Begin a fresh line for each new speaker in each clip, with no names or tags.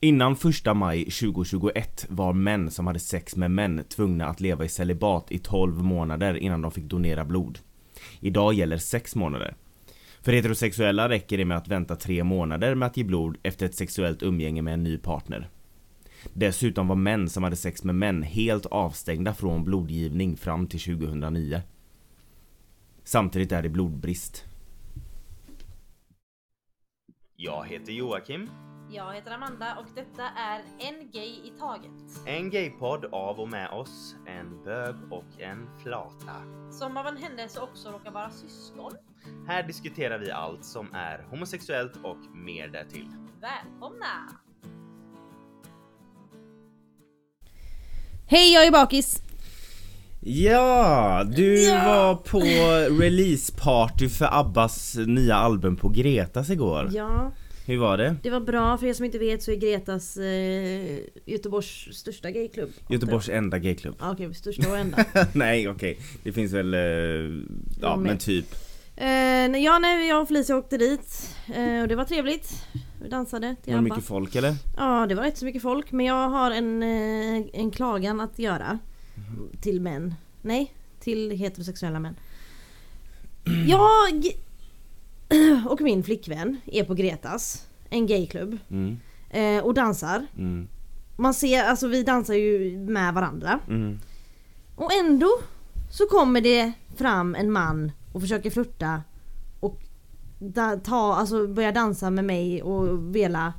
Innan första maj 2021 var män som hade sex med män tvungna att leva i celibat i 12 månader innan de fick donera blod. Idag gäller 6 månader. För heterosexuella räcker det med att vänta 3 månader med att ge blod efter ett sexuellt umgänge med en ny partner. Dessutom var män som hade sex med män helt avstängda från blodgivning fram till 2009. Samtidigt är det blodbrist. Jag heter Joakim.
Jag heter Amanda och detta är En Gay i Taget.
En gaypodd av och med oss, en bög och en flata.
Som av en händelse också råkar vara syskon.
Här diskuterar vi allt som är homosexuellt och mer därtill.
Välkomna! Hej, jag är bakis!
Ja, du
Ja.
var på releaseparty för Abbas nya album på Gretas igår.
Ja,
Hur var det?
det var bra. För er som inte vet så är Gretas eh, Göteborgs största gayklubb.
Göteborgs enda gayklubb.
Ja, Okej, största och enda.
Nej okej, det finns väl, eh, ja
med.
men typ.
eh, nej, ja, nej, jag och Felicia åkte dit eh, och det var trevligt. Vi dansade till
Var det
ABBA.
mycket folk eller?
Ja, det var inte så mycket folk men jag har en, eh, en klagan att göra. Till män. Nej, till heterosexuella män. Jag och min flickvän är på Gretas, en gayklubb,
Mm,
eh, och dansar.
mm,
Man ser, alltså vi dansar ju med varandra.
mm.
Och ändå så kommer det fram en man och försöker flirta och da- ta, alltså börja dansa med mig och vela.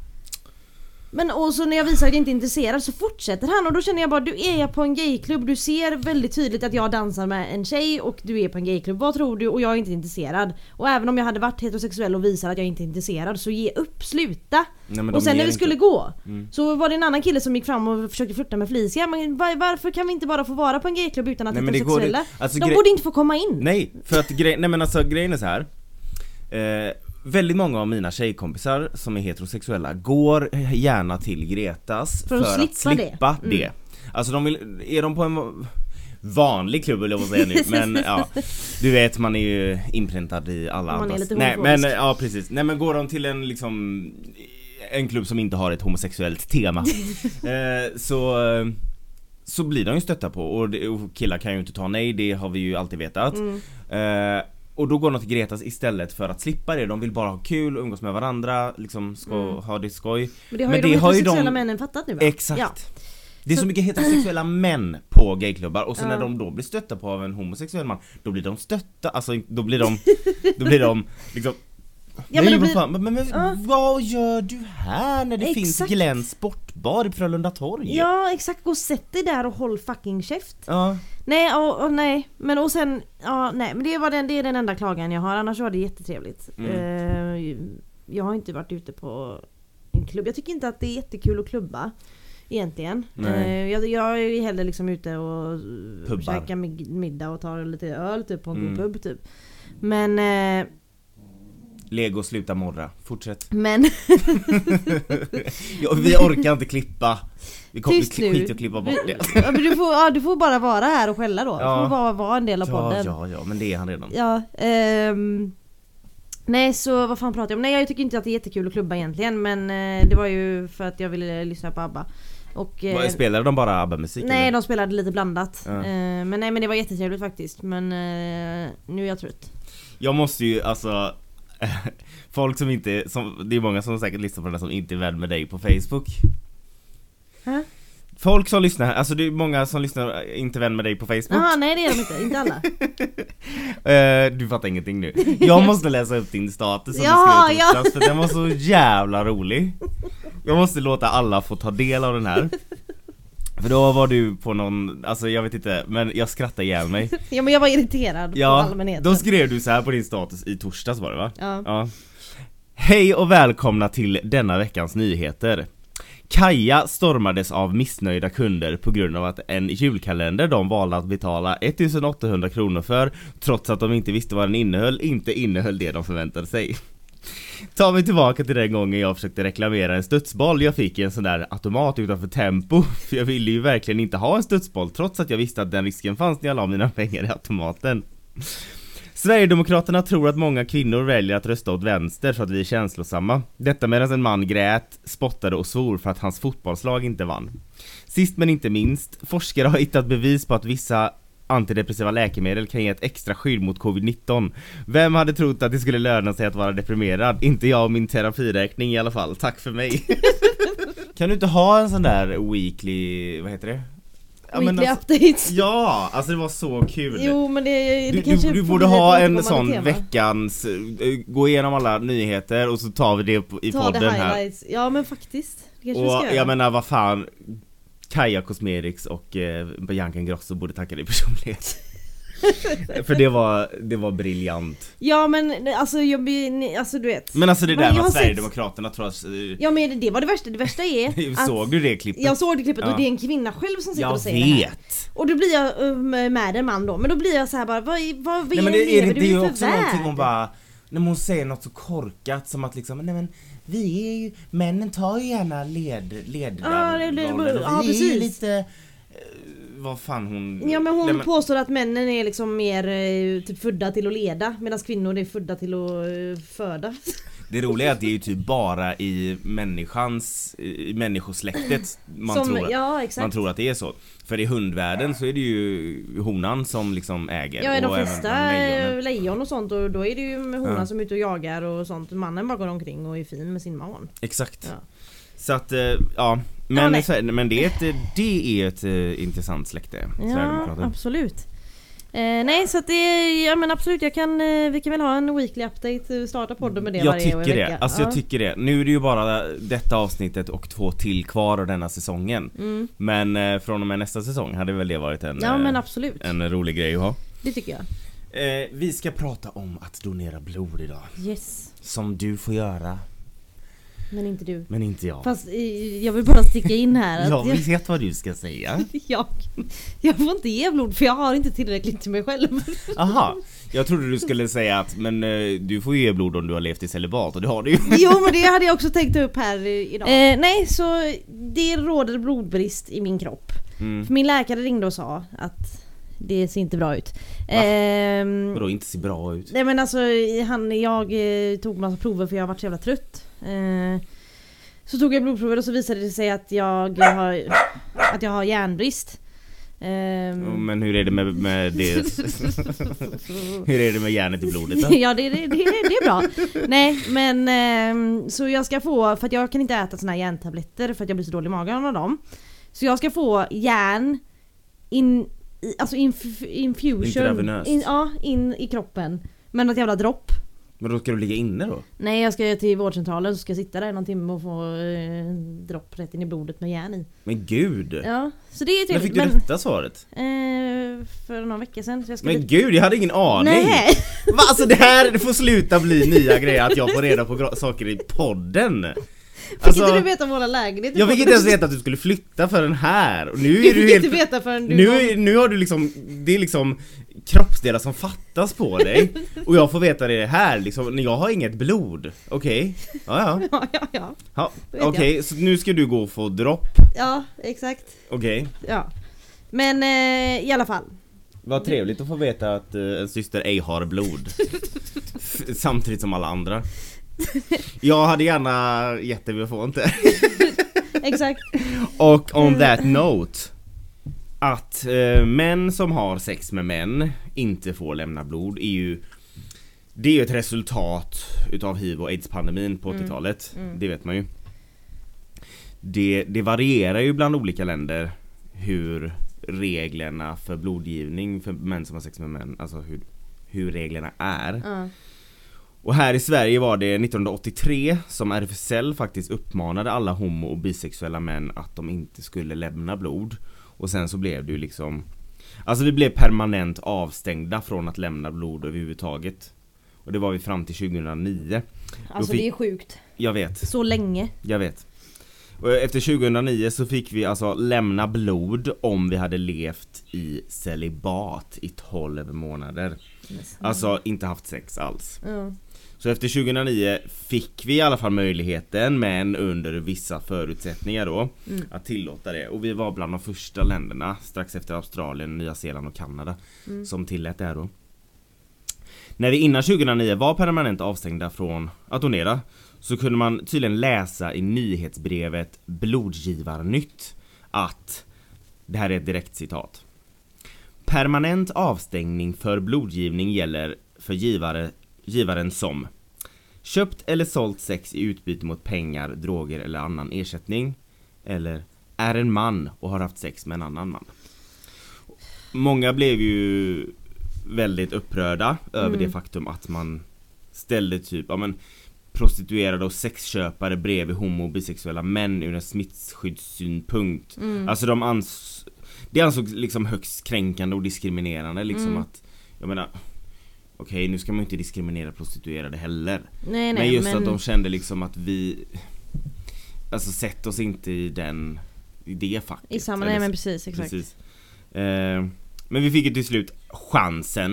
Men och så när jag visar att jag inte är intresserad så fortsätter han och då känner jag bara du är på en gayklubb, du ser väldigt tydligt att jag dansar med en tjej och du är på en gayklubb. Vad tror du? Och jag är inte intresserad. Och även om jag hade varit heterosexuell och visar att jag inte är intresserad så ge upp, sluta!
Nej, men de
och sen
ger
när vi
inte Mm.
skulle gå så var det en annan kille som gick fram och försökte flirta med Felicia. Men var, varför kan vi inte bara få vara på en gayklubb utan att
Nej, men det går
heterosexuella...
inte. Alltså,
de
gre-
borde inte få komma in.
Nej, för att grej, nej men alltså grejen är så här. Eh, väldigt många av mina tjejkompisar som är heterosexuella går gärna till Gretas
För att slippa det. Mm.
slippa det. Alltså de vill, är de på en va- vanlig klubb eller vad säga nu men ja Du vet man är ju inpräntad i alla
Man är
andras
lite
Nej men
homofobisk.
ja precis, nej men går de till en liksom En klubb som inte har ett homosexuellt tema eh, Så eh, så blir de ju stötta på och, det, och killar kan ju inte ta nej, det har vi ju alltid vetat.
Mm.
Eh, och då går de till Gretas istället för att slippa det, de vill bara ha kul, umgås med varandra, liksom sko-
Mm.
ha det skoj.
Men det har ju de heterosexuella männen fattat nu va?
Exakt.
Ja.
Det är så,
Så-
mycket heterosexuella män på gayklubbar och så när
Ja.
de då blir stötta på av en homosexuell man, då blir de stötta, alltså då blir de, då blir de liksom
Ja, men
Nej,
då
vad
blir-
fan, men, men,
Ja.
vad gör du här när det finns
Exakt.
Glenn sportbar i Frölunda torg?
Ja exakt, gå och sätt dig där och håll fucking käft.
ja.
Nej, och, och nej. Men och sen, ja nej. Men det, var den, det är den enda klagan jag har, annars var det jättetrevligt.
Mm.
Eh, jag har inte varit ute på en klubb. Jag tycker inte att det är jättekul att klubba. Egentligen.
Nej.
Eh, jag, jag är ju hellre liksom ute och eh,
Pubbar.
käkar mig- middag och tar lite öl typ på en
Mm.
god pub typ. Men, eh,
Lego sluta morra, fortsätt.
men
Ja, vi orkar inte klippa. Vi kommer
Tyst nu.
skit att klippa bort det.
Ja, men du, får, ja, du får bara vara här och skälla då.
Ja.
Du får bara vara en del av
Ja,
podden.
ja, ja, men det är han redan.
Ja, ehm, nej så vad fan pratar jag om? Nej jag tycker inte att det är jättekul att klubba egentligen men eh, det var ju för att jag ville lyssna på ABBA. Och, eh,
Vad, Spelade de bara ABBA-musik?
nej
eller?
de spelade lite blandat.
Ja.
Eh, men nej men det var jättetrevligt faktiskt men eh, nu är jag trött.
Jag måste ju alltså Folk som inte, som, det är många som säkert lyssnar på den här som inte är vän med dig på Facebook
Hä?
Folk som lyssnar, alltså det är många som lyssnar, eh, inte vän med dig på Facebook
Jaha nej det är de inte, inte alla.
Eh, Du fattar ingenting nu Jag måste läsa upp din status som
Ja,
du skrev i
ja.
torsdags, för den var så jävla rolig Jag måste låta alla få ta del av den här För då var du på någon, alltså jag vet inte, men jag skrattar ihjäl mig
ja men jag var irriterad på
Ja,
allmänheten.
då skrev du så här på din status i torsdags var det va?
Ja.
Hej och välkomna till denna veckans nyheter. Kaja stormades av missnöjda kunder på grund av att en julkalender de valde att betala 1800 kronor för trots att de inte visste vad den innehöll, inte innehöll det de förväntade sig. Ta mig tillbaka till den gången jag försökte reklamera en studsboll jag fick i en sån där automat utanför Tempo. För jag ville ju verkligen inte ha en studsboll trots att jag visste att den risken fanns när jag la mina pengar i automaten. Sverigedemokraterna tror att många kvinnor väljer att rösta åt vänster för att vi är känslosamma. Detta medan en man grät, spottade och svor för att hans fotbollslag inte vann. Sist men inte minst, forskare har hittat bevis på att vissa antidepressiva läkemedel kan ge ett extra skydd mot covid-19. Vem hade trott att det skulle löna sig att vara deprimerad? Inte jag och min terapiräkning i alla fall. Tack för mig. kan du inte ha en sån där weekly, vad heter det? Ja, men
Weekly
alltså-
updates.
Ja, alltså det var så kul.
Jo men det, det
Du,
kanske
du, du
får
borde
bli ett
ha en
återkommande
sån
tema.
veckans, eh, gå igenom alla nyheter och så tar vi det på- i
Ta
podden
det
här.
highlights. Ja men faktiskt. Det kanske vi ska
Och
göra.
jag menar vad fan Kaja Cosmetics och eh, Bianca Ingrosso borde tacka dig personligt. För det var, det var briljant.
Ja men alltså, jag, blir- ni- alltså du vet.
Men alltså det
Men
där
jag
med
har
att
sett-
Sverigedemokraterna tror jag...
Ja men det var det värsta. Det värsta är att
Såg du det klippet?
jag såg det klippet
Ja.
och det är en kvinna själv som sitter
Jag
och säger det här.
vet!
Och då blir jag um, med en man då, men då blir jag så här bara vad, är- vad, vad
Nej men
lever
det är, det,
du
det är
i
ju
för
också
värld?
någonting hon bara när hon säger något så korkat som att liksom, nej men vi är ju, männen tar ju gärna led,
Ja, det- det-
ledarrollen och
ja,
vi är ju
precis.
lite, eh, vad fan hon...
Ja men hon
Nej,
påstår att männen är liksom mer eh, typ födda till att leda medan kvinnor är födda till att eh, föda.
Det roliga är att det är ju typ bara i människans, i människosläktet man,
Som-
tror,
ja,
man
exakt.
tror att det är så. För i hundvärlden så är det ju honan som liksom äger.
Ja, är de
och även
flesta
lejonen.
lejon. lejon och sånt och då är det ju med honan
Ja.
som är ute och jagar och sånt. Mannen bara går omkring och är fin med sin man.
Exakt.
Ja.
Så att, eh, ja.
Ja,
Men,
nej.
så är det- men det är ett, det är ett eh, intressant släkte,
Ja,
Sverigedemokraterna.
absolut. Eh, nej så att det är, ja men absolut jag kan, eh, vi kan väl ha en weekly update, eh, starta podden med det
Jag
varje
tycker
vecka.
det, alltså
Ja.
jag tycker det. Nu är det ju bara detta avsnittet och två till kvar av denna säsongen.
Mm.
Men eh, från och med nästa säsong hade väl det varit en,
Ja
eh,
men absolut,
en rolig grej att ha.
det tycker jag.
Eh, vi ska prata om att donera blod idag.
Yes,
Som du får göra,
men inte du.
men inte jag.
Fast eh, jag vill bara sticka in här att
jag
jag,
vet vad du ska säga.
jag, jag får inte ge blod för jag har inte tillräckligt till mig själv.
Aha, jag trodde du skulle säga att men eh, du får ju ge blod om du har levt i celibat och det har du ju.
Jo men det hade jag också tänkt upp här eh, idag. Eh, nej så det råder blodbrist i min kropp.
Mm.
För Min läkare ringde och sa att det ser inte bra ut. Ehm,
Vadå inte ser bra ut?
nej men alltså han, jag eh, tog massa prover för jag har varit så jävla trött. Eh, så tog jag blodprover och så visade det sig att jag har, att jag har järnbrist. Ehm,
Men hur är det med, med det? hur är det med järnet i blodet då?
Ja det, det, det, det är bra. Nej men ehm, så jag ska få, för att jag kan inte äta såna här järntabletter för att jag blir så dålig i magen av dem. Så jag ska få järn in, i- alltså inf, infusion.
Intravenöst.
In, ja, in i kroppen. Men något jävla dropp.
Men då ska du ligga inne då?
Nej jag ska till vårdcentralen så ska jag sitta där någon timme och få eh, dropp rätt in i blodet med järn i.
Men gud!
Ja, så det är
När fick
trevligt.
du
Men,
detta svaret?
eh, för någon vecka sedan. Så jag skulle...
Men gud, jag hade ingen aning!
Nej!
Va, alltså det här det får sluta bli nya grejer att jag får reda på gra- saker i podden!
Fick
Alltså,
inte du veta om våra lägenhet?
jag fick inte ens veta att du skulle flytta förrän här och nu
Du
är du
fick inte
helt...
veta förrän du
Nu,
kom.
är- nu har du liksom, det är liksom kroppsdelar som fattas på dig och jag får veta det här liksom, när jag har inget blod. Okej, ja ja.
Ja, ja, ja.
ja.
vet
Okej,
jag.
så nu ska du gå och få dropp,
ja exakt.
okej.
Ja. Men eh, i alla fall.
Vad trevligt att få veta att eh, en syster ej har blod. F- Samtidigt som alla andra. Jag hade gärna gett det men jag får inte.
Exakt.
Och on that note. Att eh, män som har sex med män inte får lämna blod är ju Det är ju ett resultat utav hiv och aids pandemin på 80-talet. Det vet man ju. Det, det varierar ju bland olika länder hur reglerna för blodgivning för män som har sex med män, alltså hur, hur reglerna är.
Ja.
Och här i Sverige var det 1983 som RFSL faktiskt uppmanade alla homo och bisexuella män att de inte skulle lämna blod. Och sen så blev det ju liksom Alltså vi blev permanent avstängda från att lämna blod överhuvudtaget. Och det var vi fram till 2009.
Alltså
Då fick-
det är sjukt.
Jag vet,
Så länge.
jag vet. Och efter 2009 så fick vi alltså lämna blod om vi hade levt i celibat i 12 månader. Alltså inte haft sex alls.
Ja.
Så efter 2009 fick vi i alla fall möjligheten men under vissa förutsättningar då att tillåta det och vi var bland de första länderna strax efter Australien, Nya Zeeland och Kanada som tillät det här då. När vi innan 2009 var permanent avstängda från att donera så kunde man tydligen läsa i nyhetsbrevet Blodgivarnytt att det här är ett direkt citat. Permanent avstängning för blodgivning gäller för givare, givaren som köpt eller sålt sex i utbyte mot pengar, droger eller annan ersättning eller är en man och har haft sex med en annan man. Många blev ju väldigt upprörda över det faktum att man ställde typ, ja men prostituerade och sexköpare bredvid homo och bisexuella män ur en smittskyddssynpunkt. Alltså de ans det ansågs liksom högst kränkande och diskriminerande liksom
Mm.
att Jag menar Okej nu ska man ju inte diskriminera prostituerade heller
Nej, nej,
Men just att de kände liksom att vi Alltså sätt oss inte i den I det facket
I samma,
Eller
nej men
så-
precis exakt.
Precis. Eh, men vi fick ju till slut chansen,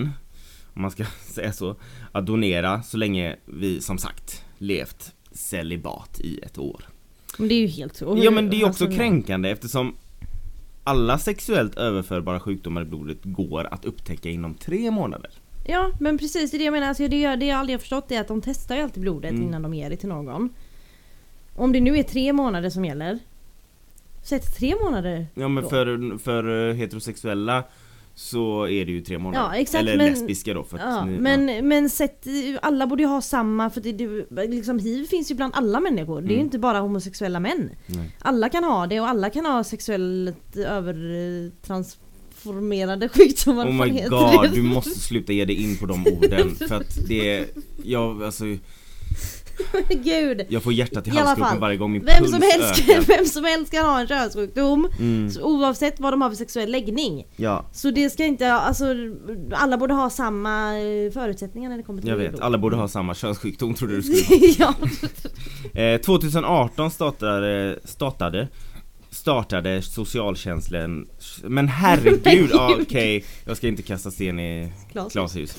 om man ska säga så, att donera så länge vi som sagt levt celibat i ett år.
Men det är ju helt och
Ja men det är ju också
alltså,
kränkande eftersom alla sexuellt överförbara sjukdomar i blodet går att upptäcka inom tre månader.
Ja men precis det är det jag menar. Alltså, det, jag, det jag aldrig har förstått är att de testar ju alltid blodet
Mm.
innan de ger det till någon. Om det nu är tre månader som gäller. Sätt tre månader.
Ja men
då.
för, för eh, heterosexuella så är det ju tre månader.
Ja, exakt,
Eller
men-
lesbiska då. För att
Ja,
ni-
men, men sätt, alla borde ju ha samma för det, det, liksom, hiv finns ju bland alla människor. Det är ju
Mm.
inte bara homosexuella män.
Nej.
Alla kan ha det och alla kan ha sexuellt övertransformerade sjukdomar.
Oh
vad fan
my
heter
god,
det?
du måste sluta ge dig in på de orden för att det, jag, alltså,
Gud.
jag får hjärtat i
I alla
halsgropen
fall.
varje gång min
Vem
puls
som, helst,
ökar.
vem som helst kan ha en könssjukdom
Mm,
så oavsett vad de har för sexuell läggning.
ja,
Så det ska inte, alltså alla borde ha samma eh, förutsättningar när det kommer till
jag
det
vet.
då.
Alla borde ha samma könssjukdom trodde du skulle
ja.
Eh, 2018 startade, startade, startade socialtjänsten, men herregud, ah, okej, jag ska inte kasta sten i
Klart.
glashus.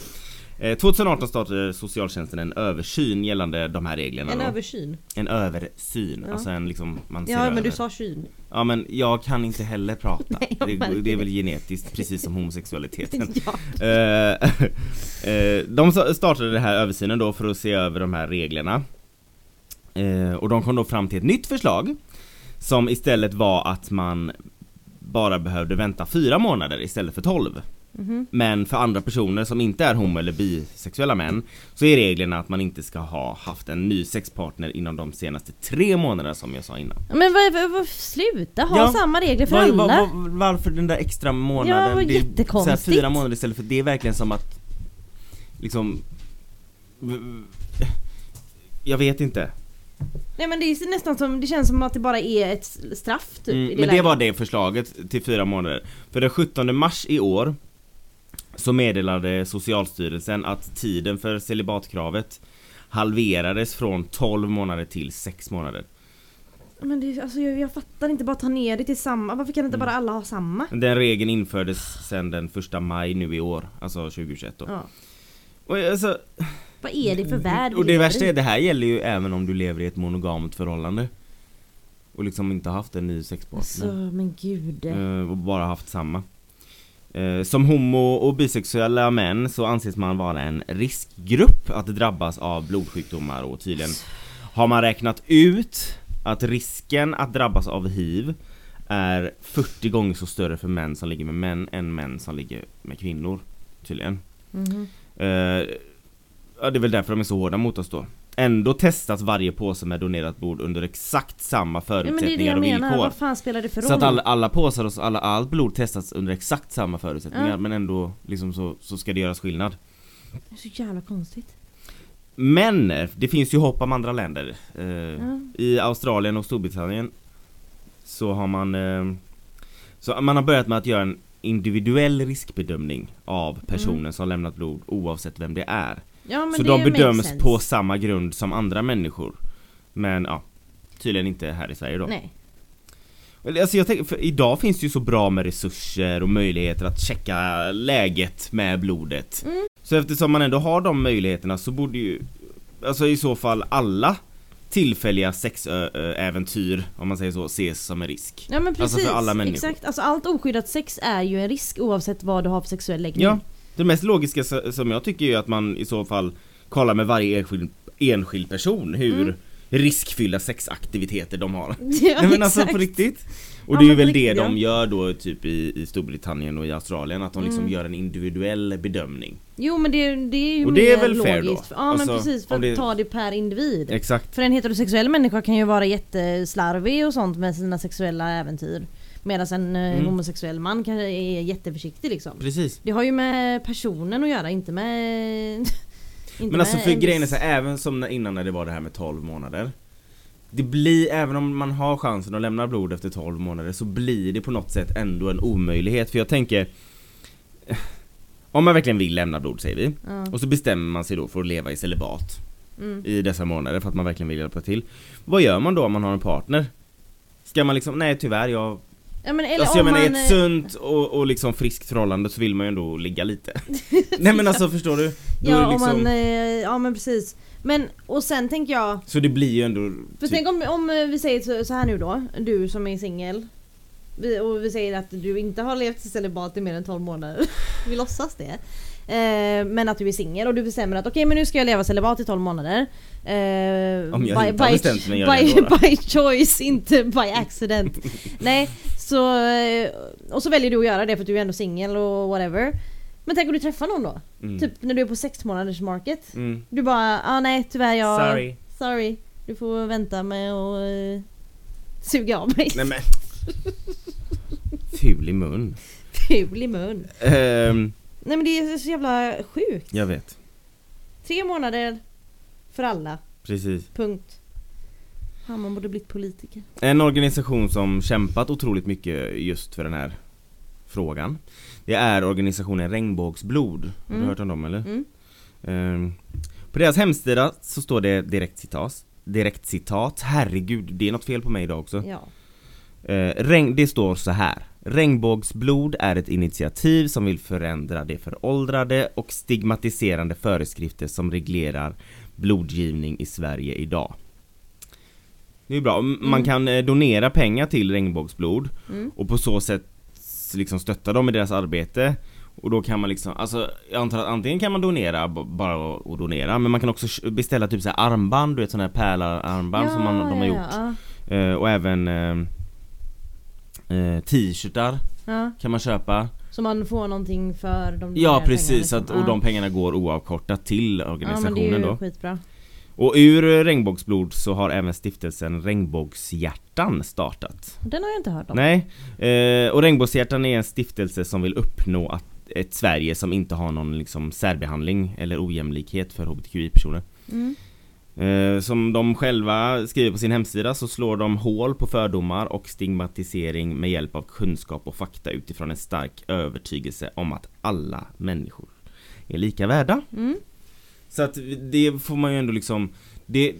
Eh, 2018 startade socialtjänsten en översyn gällande de här reglerna
En
då.
översyn.
en översyn,
Ja.
alltså en liksom, man ser
Ja men
över.
du sa syn.
Ja men jag kan inte heller prata.
Nej, jag
det,
märker
det är
det.
väl genetiskt precis som homosexualiteten.
Ja.
Eh, eh, de sa- startade den här översynen då för att se över de här reglerna. Eh, och de kom då fram till ett nytt förslag som istället var att man bara behövde vänta fyra månader istället för 12.
Mhm.
Men för andra personer som inte är homo eller bisexuella män så är reglerna att man inte ska ha haft en ny sexpartner inom de senaste tre månaderna som jag sa innan.
Men vad, vad, vad, sluta ha
Ja.
samma regler för
Var, var,
alla.
var, varför den där extra månaden?
Ja, vad
Det är
jättekonstigt.
Så här fyra månader istället för det är verkligen som att liksom v- jag vet inte.
Nej men det är nästan som, det känns som att det bara är ett straff typ. i
Mm, men det
läget.
var det förslaget till fyra månader. För den 17 mars i år så meddelade Socialstyrelsen att tiden för celibatkravet halverades från 12 månader till 6 månader.
Men det, alltså, jag, jag fattar inte, bara ta ner det till samma. Varför kan
Mm.
inte bara alla ha samma?
Den regeln infördes sedan den 1 maj nu i år, alltså 2021 då.
Ja.
Och alltså,
Vad är det för värld vi
Mm. Och det
lever
värsta
i?
är det här gäller ju även om du lever i ett monogamt förhållande Och liksom inte haft en ny
Alltså
sexpartner
men gud.
Eh, Och bara haft samma Eh, Som homo och bisexuella män så anses man vara en riskgrupp att drabbas av blodsjukdomar och tydligen Har man räknat ut att risken att drabbas av hiv är 40 gånger så större för män som ligger med män än män som ligger med kvinnor Tydligen
Mhm.
Eh, ja, det är väl därför de är så hårda mot oss då. Ändå testas varje påse med donerat blod under exakt samma
Ja, men det är det
förutsättningar
jag
och
menar,
villkor.
vad fan spelar det för roll?
Så att alla, alla påsar och så- alla, allt blod testas under exakt samma förutsättningar
Ja.
men ändå liksom så, så ska det göras skillnad.
Det är så jävla konstigt.
Men eh, det finns ju hopp om andra länder. Eh,
Ja.
I Australien och Storbritannien så har man eh, så man har börjat med att göra en individuell riskbedömning av personen
Mm.
som lämnat blod oavsett vem det är.
Ja, men
så
det
de
makes
bedöms
sense.
på samma grund som andra människor. Men ja, tydligen inte här i Sverige då.
Nej.
Eller, Alltså jag tänker, för idag finns det ju så bra med resurser och möjligheter att checka läget med blodet.
Mm.
Så eftersom man ändå har de möjligheterna så borde ju, alltså i så fall alla tillfälliga sexäventyr, om man säger så, ses som en risk.
Ja men precis.
Alltså för alla människor.
Exakt. Alltså, allt oskyddat sex är ju en risk oavsett vad du har för sexuell läggning.
Ja. Det mest logiska s- som jag tycker är att man i så fall kollar med varje enskild, enskild person hur
Mm.
riskfyllda sexaktiviteter de har.
Ja,
Nej men alltså på
exakt.
riktigt. Och
Ja,
det är ju
men på
väl det
riktigt,
de
ja.
gör då typ i, i Storbritannien och i Australien att de liksom
Mm.
gör en individuell bedömning.
Jo men det, det är ju
Och det är
mer
väl fair då?
logiskt. Ja
Alltså,
men precis, för
om
att
det-
ta det per individ.
Exakt.
För en heterosexuell människa kan ju vara jätteslarvig och sånt med sina sexuella äventyr. Medan en eh,
Mm.
homosexuell man kanske är jätteförsiktig liksom.
Precis.
Det har ju med personen att göra, inte med... inte
Men alltså
med
för
en
grejen är
viss-
så här, även som när- innan när det var det här med 12 månader. Det blir, även om man har chansen att lämna blod efter 12 månader så blir det på något sätt ändå en omöjlighet för jag tänker om man verkligen vill lämna blod säger vi
Ja.
och så bestämmer man sig då för att leva i celibat
Mm.
i dessa månader för att man verkligen vill hjälpa till. Vad gör man då om man har en partner? Ska man liksom, nej tyvärr jag,
ja men eller
alltså jag
om
menar i
man...
ett sunt och, och liksom friskt förhållande så vill man ju ändå ligga lite. nej men alltså förstår du? Då är
ja,
det
om
liksom,
man eh, ja men precis. Men och sen tänker jag,
så det blir ju ändå typ-
för tänk om, om eh, vi säger så, så här nu då, du som är singel. Vi, och vi säger att du inte har levt i celibat i mer än 12 månader. vi låtsas det. Eh, men att du är singel och du bestämmer att okej men nu ska jag leva celibat i 12 månader. Eh,
Om jag inte har bestämt mig, gör jag
by,
det då,
by choice, inte by accident. Nej, så... eh, Och så väljer du att göra det för att du är ändå singel och whatever. Men tänk om du träffar någon då?
mm.
Typ när du är på sex månaders market.
Mm.
Du bara, ah, nej tyvärr jag...
Sorry.
Sorry. Du får vänta med att eh, suga av mig.
Nej men. Ful i mun.
Ful i mun.
Ehm,
Nej men det är så jävla sjukt.
jag vet.
Tre månader för alla.
Precis.
Punkt. Fan man borde blivit politiker.
En organisation som kämpat otroligt mycket just för den här frågan. Det är organisationen Regnbågsblod. Har du
Mm.
hört om dem eller?
Mm.
Ehm, på deras hemsida så står det direkt citat. Direkt citat. Herregud, det är något fel på mig idag också.
Ja.
Eh, regn, det står så här. Regnbågsblod är ett initiativ som vill förändra de föråldrade och stigmatiserande föreskrifter som reglerar blodgivning i Sverige idag. Det är bra. M- Man
Mm.
kan eh, donera pengar till regnbågsblod
Mm.
och på så sätt s- liksom stötta dem i deras arbete. Och då kan man liksom, alltså jag antar att antingen kan man donera, b- bara och donera, men man kan också sh- beställa typ så här armband, du vet sådana här pärlarmband som man, de har
ja,
gjort.
Ja,
Eh, och även ehm, eh, t-shirtar
ja.
kan man köpa.
Så man får någonting för
Ja
de där pengarna,
precis,
Mm. liksom.
att, och
Ja.
de pengarna går oavkortat till
Ja men
organisationen
det är ju
då.
skitbra.
Och ur eh, Regnbågsblod så har även stiftelsen Regnbågshjärtan startat.
Den har jag inte hört om.
Nej, eh, och Regnbågshjärtan är en stiftelse som vill uppnå att ett Sverige som inte har någon liksom särbehandling eller ojämlikhet för hbtqi-personer.
Mm.
Eh, som de själva skriver på sin hemsida så slår de hål på fördomar och stigmatisering med hjälp av kunskap och fakta utifrån en stark övertygelse om att alla människor är lika värda.
Mm.
Så att det får man ju ändå liksom Det,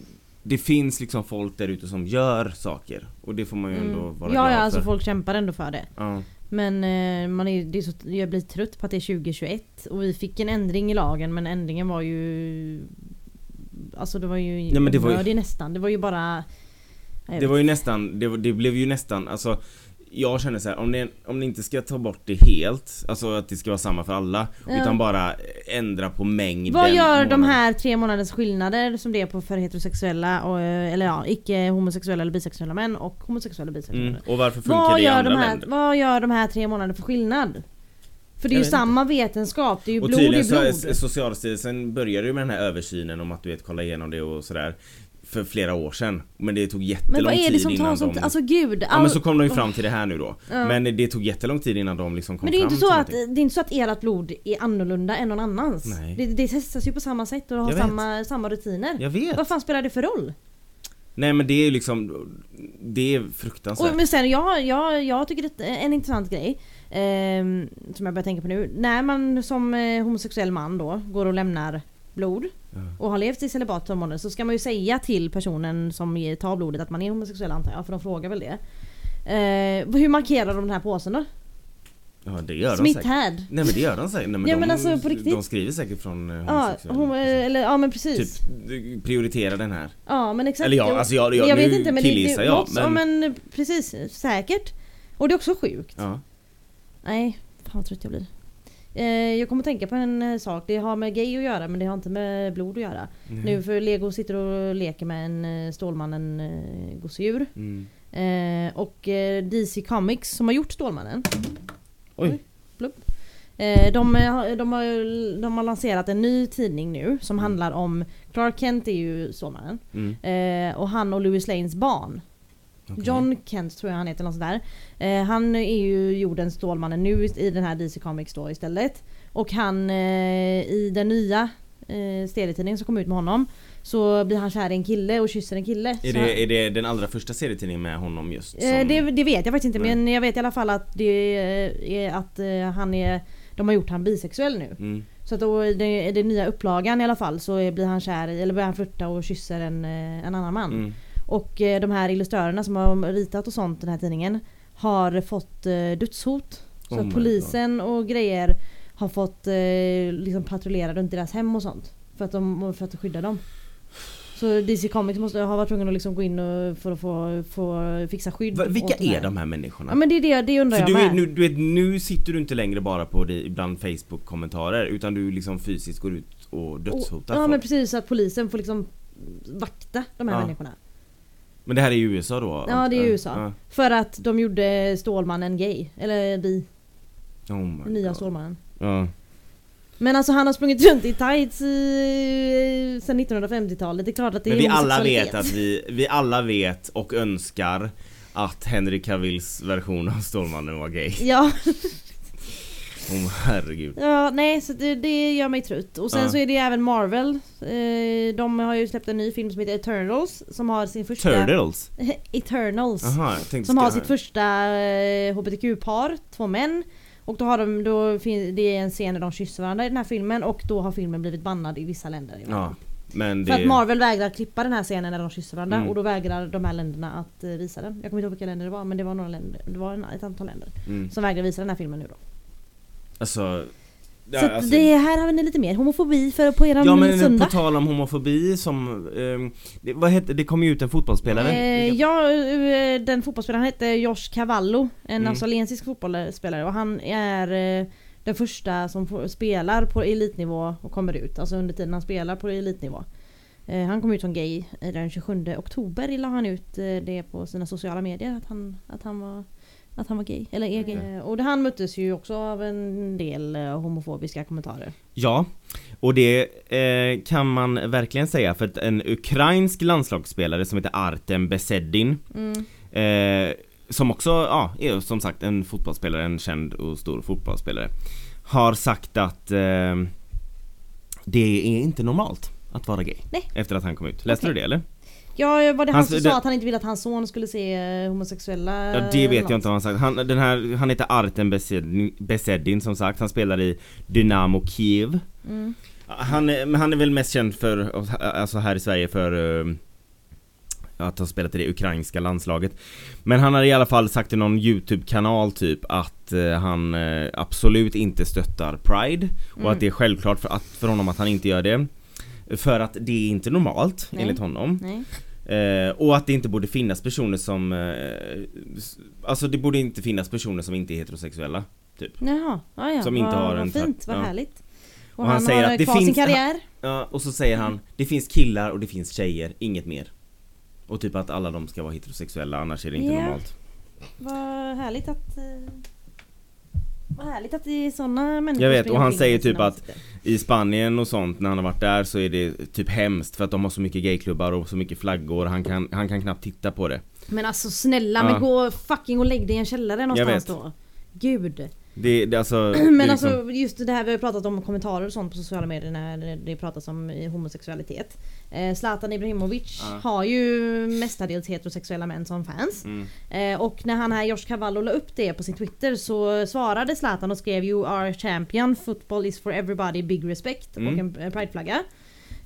det finns liksom folk där ute som gör saker och det får man ju ändå
Mm.
vara
Ja,
glad
ja
för.
alltså folk kämpar ändå för det.
ja.
Men eh, man är, det är så, jag blir trött på att det är 2021 och vi fick en ändring i lagen men ändringen var ju... Alltså det var ju
Nej, men det var ju-
onödig nästan. Det var ju bara... Jag
Det
vet
var ju nästan, det, var- det blev ju nästan, alltså jag känner så här, om ni, om ni inte ska ta bort det helt, alltså att det ska vara samma för alla,
Ja.
utan bara ändra på mängden
Vad gör de
månader.
här tre månaders skillnader som det är på för heterosexuella och, eh, eller ja, icke homosexuella eller bisexuella män och homosexuella och bisexuella
Mm.
män?
Och varför funkar
Vad
det i
gör, de
andra
här,
länder?
vad gör de här tre månaderna för skillnad? För det är
Jag
ju
vet inte.
samma vetenskap, det är ju
Och
blod i
tydligen så,
blod.
S- Socialstyrelsen började ju med den här översynen om att du vet kolla igenom det och sådär För flera år sedan Men det tog jättelång
Men vad är det
tid
som tar
innan
sånt?
de...
Alltså gud.
Ja
all- Oh.
men så kom de ju fram till det här nu då
Ja.
Men det tog jättelång tid innan de liksom kom
Men det är, ju
fram
inte så
till
att, det
någonting.
är inte så att ert blod är annorlunda än någon annans.
Nej.
Det, det testas ju på samma sätt och har
Jag vet.
samma, samma rutiner.
Jag vet!
Vad fan spelar det för roll?
Nej men det är ju liksom Det är fruktansvärt
Och, men sen, jag, jag, jag tycker det är en intressant grej ehm, som jag börjar tänka på nu. När man som eh, homosexuell man då går och lämnar blod
Ja.
och har levt i celibat tolv månader så ska man ju säga till personen som ger- tar blodet att man är homosexuell antar jag, för de frågar väl det. Eh, hur markerar de den här påsen då?
Ja det gör de säkert
Smitthärd?
Nej men det gör de säkert, Nej, men
Ja,
de,
men alltså, på
de
riktigt.
skriver säkert från eh,
Ja,
homosexuella
hon, eller, ja men precis.
Typ, eh, prioritera den här
Ja men exakt.
Eller ja,
Och-
alltså jag, jag,
jag
nu
vet inte men det, det,
killgissar jag
något, ja, men precis, säkert. Och det är också sjukt.
Ja.
Nej, fan vad trött jag blir. Eh, jag kommer att tänka på en eh, sak. Det har med gay att göra men det har inte med blod att göra.
Nej.
Nu för Lego sitter och leker med en eh, Stålmannen eh, gosedjur.
Mm.
Eh, och eh, DC Comics som har gjort Stålmannen.
Oj.
Eh, de, har- de, har, de har lanserat en ny tidning nu som
Mm.
handlar om Clark Kent är ju Stålmannen.
Mm.
Eh, och han och Louis Lanes barn.
Okej.
John Kent tror jag han heter, något sådär. Eh, han är ju jordens Stålmannen nu i- i den här DC Comics då istället. Och han eh, i den nya eh, serietidningen som kom ut med honom så blir han kär i en kille och kysser en kille.
Är
Så
det, är det den allra första serietidningen med honom just? Som...
Eh, det, det vet jag faktiskt inte
Nej.
men jag vet i alla fall att det är att eh, han är de har gjort han bisexuell nu.
Mm.
Så att då i den, i den nya upplagan i alla fall så är- blir han kär i, eller börjar han flirta och kysser en, eh, en annan man.
Mm.
Och eh, de här illuströrerna som har ritat och sånt den här tidningen har fått eh, dödshot. Så
Oh my
att polisen och grejer har fått eh, liksom patrullera runt deras hem och sånt. För att, de, för att skydda dem. Så DC Comics måste ha varit tvungen att liksom gå in och, för att få, få fixa skydd.
Va, vilka
åt de här.
är de här människorna?
Ja men det är det, det undrar
För
jag
du,
med.
är, nu, du vet, nu sitter du inte längre bara på det bland Facebook-kommentarer utan du liksom fysiskt går ut och dödshotar
Ja
folk.
men
men,
precis, så att polisen får liksom vakta de här
Ja.
människorna.
det här är i USA då?
Ja det är i USA.
Ja.
För att de gjorde Stålmannen gay. Eller bi.
Oh my
Nya
God.
Stålmannen.
Ja.
Men alltså han har sprungit runt i tights i, eh, sen 1950-talet. Det är klart att det
Men
är
vi alla
homosexualitet.
vet att vi, vi alla vet och önskar att Henry Cavills version av Stålmannen var gay.
Ja,
Oh, herregud.
ja nej så det, det gör mig trött. Och sen
Ja.
så är det även Marvel. Eh, De har ju släppt en ny film som heter Eternals. Som har sin första...
Turtles?
Eternals.
Aha, jag tänkte
Som har
ska-
sitt första eh, HBTQ-par, två män. Och då har de, då fin- det är en scen där de kysser varandra i den här filmen och då har filmen blivit bannad i vissa länder.
Ja. Men det...
För att Marvel vägrar klippa den här scenen när de kysser varandra
Mm.
och då vägrar de här länderna att eh, visa den. Jag kommer inte ihåg vilka länder det var men det var, några länder, det var en, ett antal länder
Mm.
som vägrar visa den här filmen nu då.
Alltså... ja,
Så att
alltså-
det här har ni lite mer homofobi för på eran
Ja men
söndag.
på tal om homofobi som, ehm, det, vad hette, det kom ju ut en fotbollsspelare
Eh, ja, eh, den fotbollsspelaren hette Josh Cavallo. En
Mm.
australiensisk fotbollsspelare och han är eh, den första som får- spelar på elitnivå och kommer ut. Alltså under tiden han spelar på elitnivå. Eh, han kom ut som gay eh, den 27 oktober. la han ut eh, det på sina sociala medier att han, att han var att han var gay, eller är gay.
Okej.
Eh, Och det, han möttes ju också av en del eh, homofobiska kommentarer.
Ja, och det eh, kan man verkligen säga för att en ukrainsk landslagsspelare som heter Artem Besedin
Mm.
eh, Som också, ja, är som sagt en fotbollsspelare, en känd och stor fotbollsspelare Har sagt att eh, det är inte normalt att vara gay
Nej.
Efter att han kom ut, läste
Okej.
du det eller?
Ja, eh, var det han
Hans-
som
det-
sa att han inte ville att hans son skulle se eh, homosexuella?
Ja det vet
eller
jag inte om han sagt. Han, den här, han heter Artem Besedin, Besedin som sagt, han spelar i Dynamo Kiev
något? Mm.
Han, är- men han är väl mest känd för, alltså här i Sverige för eh, att ha spelat i det ukrainska landslaget Men han har i alla fall sagt i någon YouTube-kanal typ att eh, han eh, absolut inte stöttar Pride Och
Mm.
att det är självklart för, att, för honom att han inte gör det För att det är inte normalt
Nej.
enligt honom
Nej.
Eh, och att det inte borde finnas personer som... Eh, s- alltså det borde inte finnas personer som inte är heterosexuella.
Jaha, ja, ja.
Som inte
vad,
har en
Vad fint,
tra-
vad
ja.
härligt. Och,
Och
han,
han säger
har
att det
kvar sin
finns-
karriär.
Ja, och så säger han Det finns killar och det finns tjejer, inget mer. Och typ att alla de ska vara heterosexuella annars är det inte
Ja.
normalt.
Vad härligt att... eh, Vad härligt att det är sådana människor
Jag vet,
springer
och han
omkring
säger
med sina
typ att-
åsikter.
I Spanien och sånt när han har varit där så är det typ hemskt för att de har så mycket gayklubbar och så mycket flaggor. Han kan, han kan knappt titta på det.
Men alltså snälla,
Ja.
men gå fucking och lägg dig i en källare någonstans
vet.
då. Gud.
Det, det alltså... det
Men
är
alltså just det här vi har pratat om kommentarer och sånt på sociala medier när det pratas om eh, homosexualitet. Eh, Zlatan Ibrahimovic
Ja.
har ju mestadels heterosexuella män som fans.
Mm.
Eh, och när han här Josh Cavallo la upp det på sin Twitter så svarade Zlatan och skrev You are champion, football is for everybody, big respect
Mm.
och en eh, prideflagga.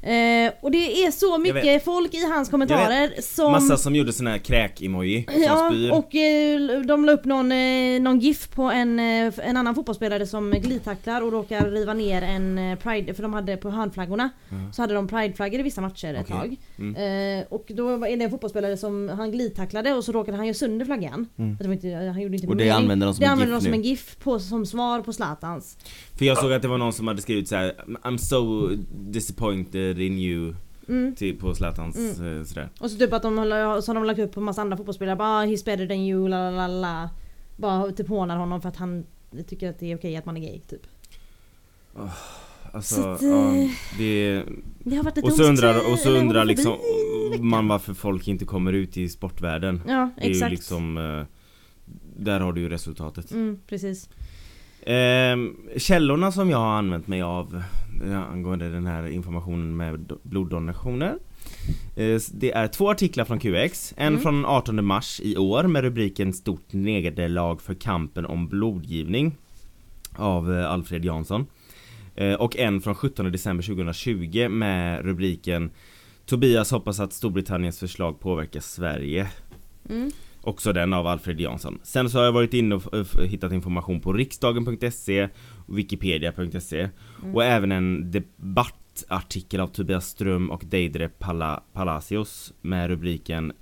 Eh, och det är så mycket
vet.
folk i hans
Jag
kommentarer som...
Massa som gjorde sån här kräk-emoji som
Ja,
spyr.
och eh, de la upp någon, eh, någon GIF på en, eh, en annan fotbollsspelare som glidtacklar och råkar riva ner en eh, pride, för de hade på hörnflaggorna
Mm.
Så hade de prideflaggor i vissa matcher ett
Okej.
tag eh, Och då var- är det en fotbollsspelare som han glidtacklade och så råkade han ju sönder flaggan För det var inte, eh, han gjorde inte
Mm. Och det
mening.
använder de som
det
en
använder
GIF
de som
nu.
en GIF på, som svar på Zlatans
För jag såg att det var någon som hade skrivit så här: I'm so disappointed in you
Mm.
till, på Zlatans eh, sådär.
Och så typ att de har, så har de lagt upp på massa andra fotbollsspelare bara "Ah, he's better than you, la la la la Bara typ hånar honom för att han tycker att det är okej att man är gay typ
Alltså,
Så att,
ja,
eh,
det,
Det har varit ett
och så
dumt,
undrar, och
eh,
så
eller
undrar
homofobi.
liksom man varför folk inte kommer ut i sportvärlden.
Ja,
Det är ju
exakt.
liksom, eh, där har du ju resultatet.
Mm, precis.
Ehm, källorna som jag har använt mig av eh, angående den här informationen med do- bloddonationer eh, s- Det är två artiklar från QX, en
Mm.
från 18 mars i år med rubriken Stort nederlag för kampen om blodgivning Av eh, Alfred Jansson Eh, Och en från 17 december 2020 med rubriken Tobias hoppas att Storbritanniens förslag påverkar Sverige
Mm.
Också den av Alfred Jansson. Sen så har jag varit inne och f- f- hittat information på riksdagen.se och Wikipedia.se och även en debattartikel av Tobias Ström och Deidre Pala- Palacios med rubriken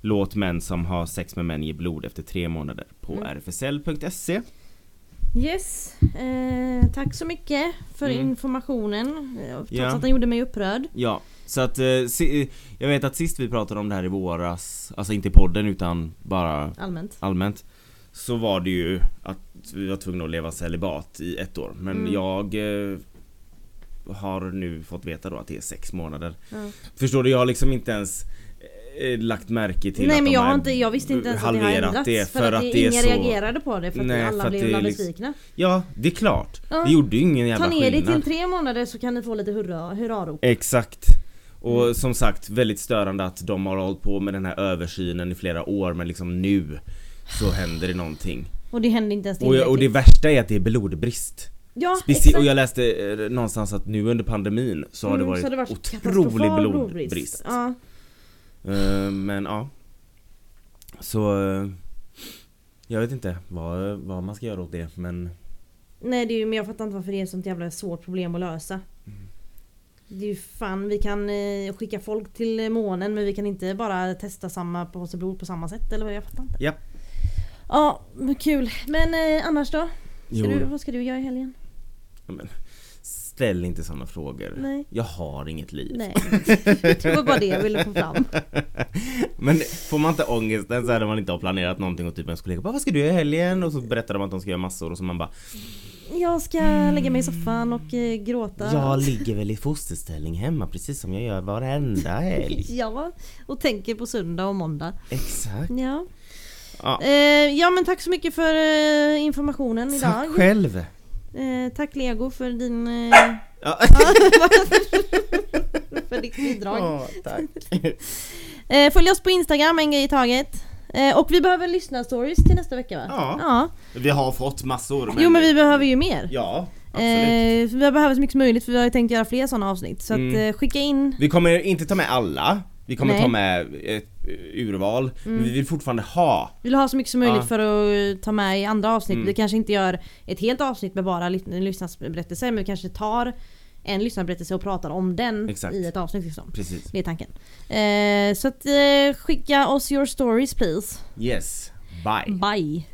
Låt män som har sex med män ge blod efter tre månader på rfsl.se.
Yes, eh, tack så mycket för
Mm.
informationen. eh, Trots
Ja.
att den gjorde mig upprörd.
Ja, så att eh, si- jag vet att sist vi pratade om det här i våras, alltså inte i podden utan bara
Allmänt.
allmänt Så var det ju att vi var tvungna att leva celibat i ett år men
Mm.
jag eh, Har nu fått veta då att det är sex månader
Ja.
Förstår du, jag har liksom inte ens eh, Lagt märke till
Nej
att
men
de
jag,
har
har inte, jag visste inte ens att det hade
halverat
ändrats.
det
för, att, det
är
ingen
så...
reagerade på det. För att
Nej,
alla
för att
blev
det är
alla
liksom-
besvikna.
Ja, det är klart!
Ja.
Det gjorde ju ingen jävla
Ta ner det
skillnad
till tre månader så kan ni få lite hurra, hurrarop.
Exakt och
Mm.
som sagt, väldigt störande att de har hållit på med den här översynen i flera år men liksom nu så händer det någonting.
Och det hände inte ens
Och,
tillräckligt.
och det värsta är att det är blodbrist.
ja,
Speci-
exakt.
och jag läste eh, någonstans att nu under pandemin så har det
Mm,
varit,
så
otrolig
katastrofal
blodbrist.
Ja.
Eh, men ja. Så... eh, jag vet inte vad, vad man ska göra åt det men...
Nej det är ju, men jag fattar inte varför det är ett sånt jävla svårt problem att lösa. Det är ju fan, vi kan eh, skicka folk till eh, månen men vi kan inte bara testa samma påse blod på samma sätt eller vad jag fattar inte.
Ja.
Ja, men kul. Men eh, annars då? Ska
Jo.
du, vad ska du göra i helgen?
Men, ställ inte sådana frågor.
Nej.
Jag har inget liv.
Nej. det var bara det jag ville få fram.
Men får man inte ångesten så här när man inte har planerat någonting och typ ens kollega bara vad ska du göra i helgen? Och så berättar de att de ska göra massor och så man bara
Jag ska lägga mig i soffan och eh, gråta.
Jag ligger väl i fosterställning hemma precis som jag gör varenda helg.
Ja, och tänker på söndag och måndag.
Exakt.
Ja.
Ja.
Eh, ja men tack så mycket för eh, informationen idag.
Tack själv!
Eh, tack Lego för din... Eh,
Ja.
för ditt bidrag.
Åh, tack.
Eh, följ oss på Instagram, en grej i taget. Eh, och vi behöver lyssna stories till nästa vecka va?
Ja.
ja.
Vi har fått massor.
Jo men vi behöver ju mer.
Ja, absolut.
Eh, vi behöver så mycket som möjligt för vi har ju tänkt göra fler sådana avsnitt. Så att,
Mm.
eh, skicka in...
Vi kommer inte ta med alla. Vi kommer
Nej. Mm.
ta med ett eh, urval. Men vi vill fortfarande ha.
Vill du ha så mycket som möjligt
Ja. Mm.
för att eh, ta med i andra avsnitt. Vi kanske inte gör ett helt avsnitt med bara ly- lyssnarberättelser men vi kanske tar en lyssnarberättelse och pratar om den
Exakt.
i ett avsnitt. Liksom.
Precis.
Det är tanken. Eh, så att, eh, skicka oss your stories please.
Yes. Bye.
Bye.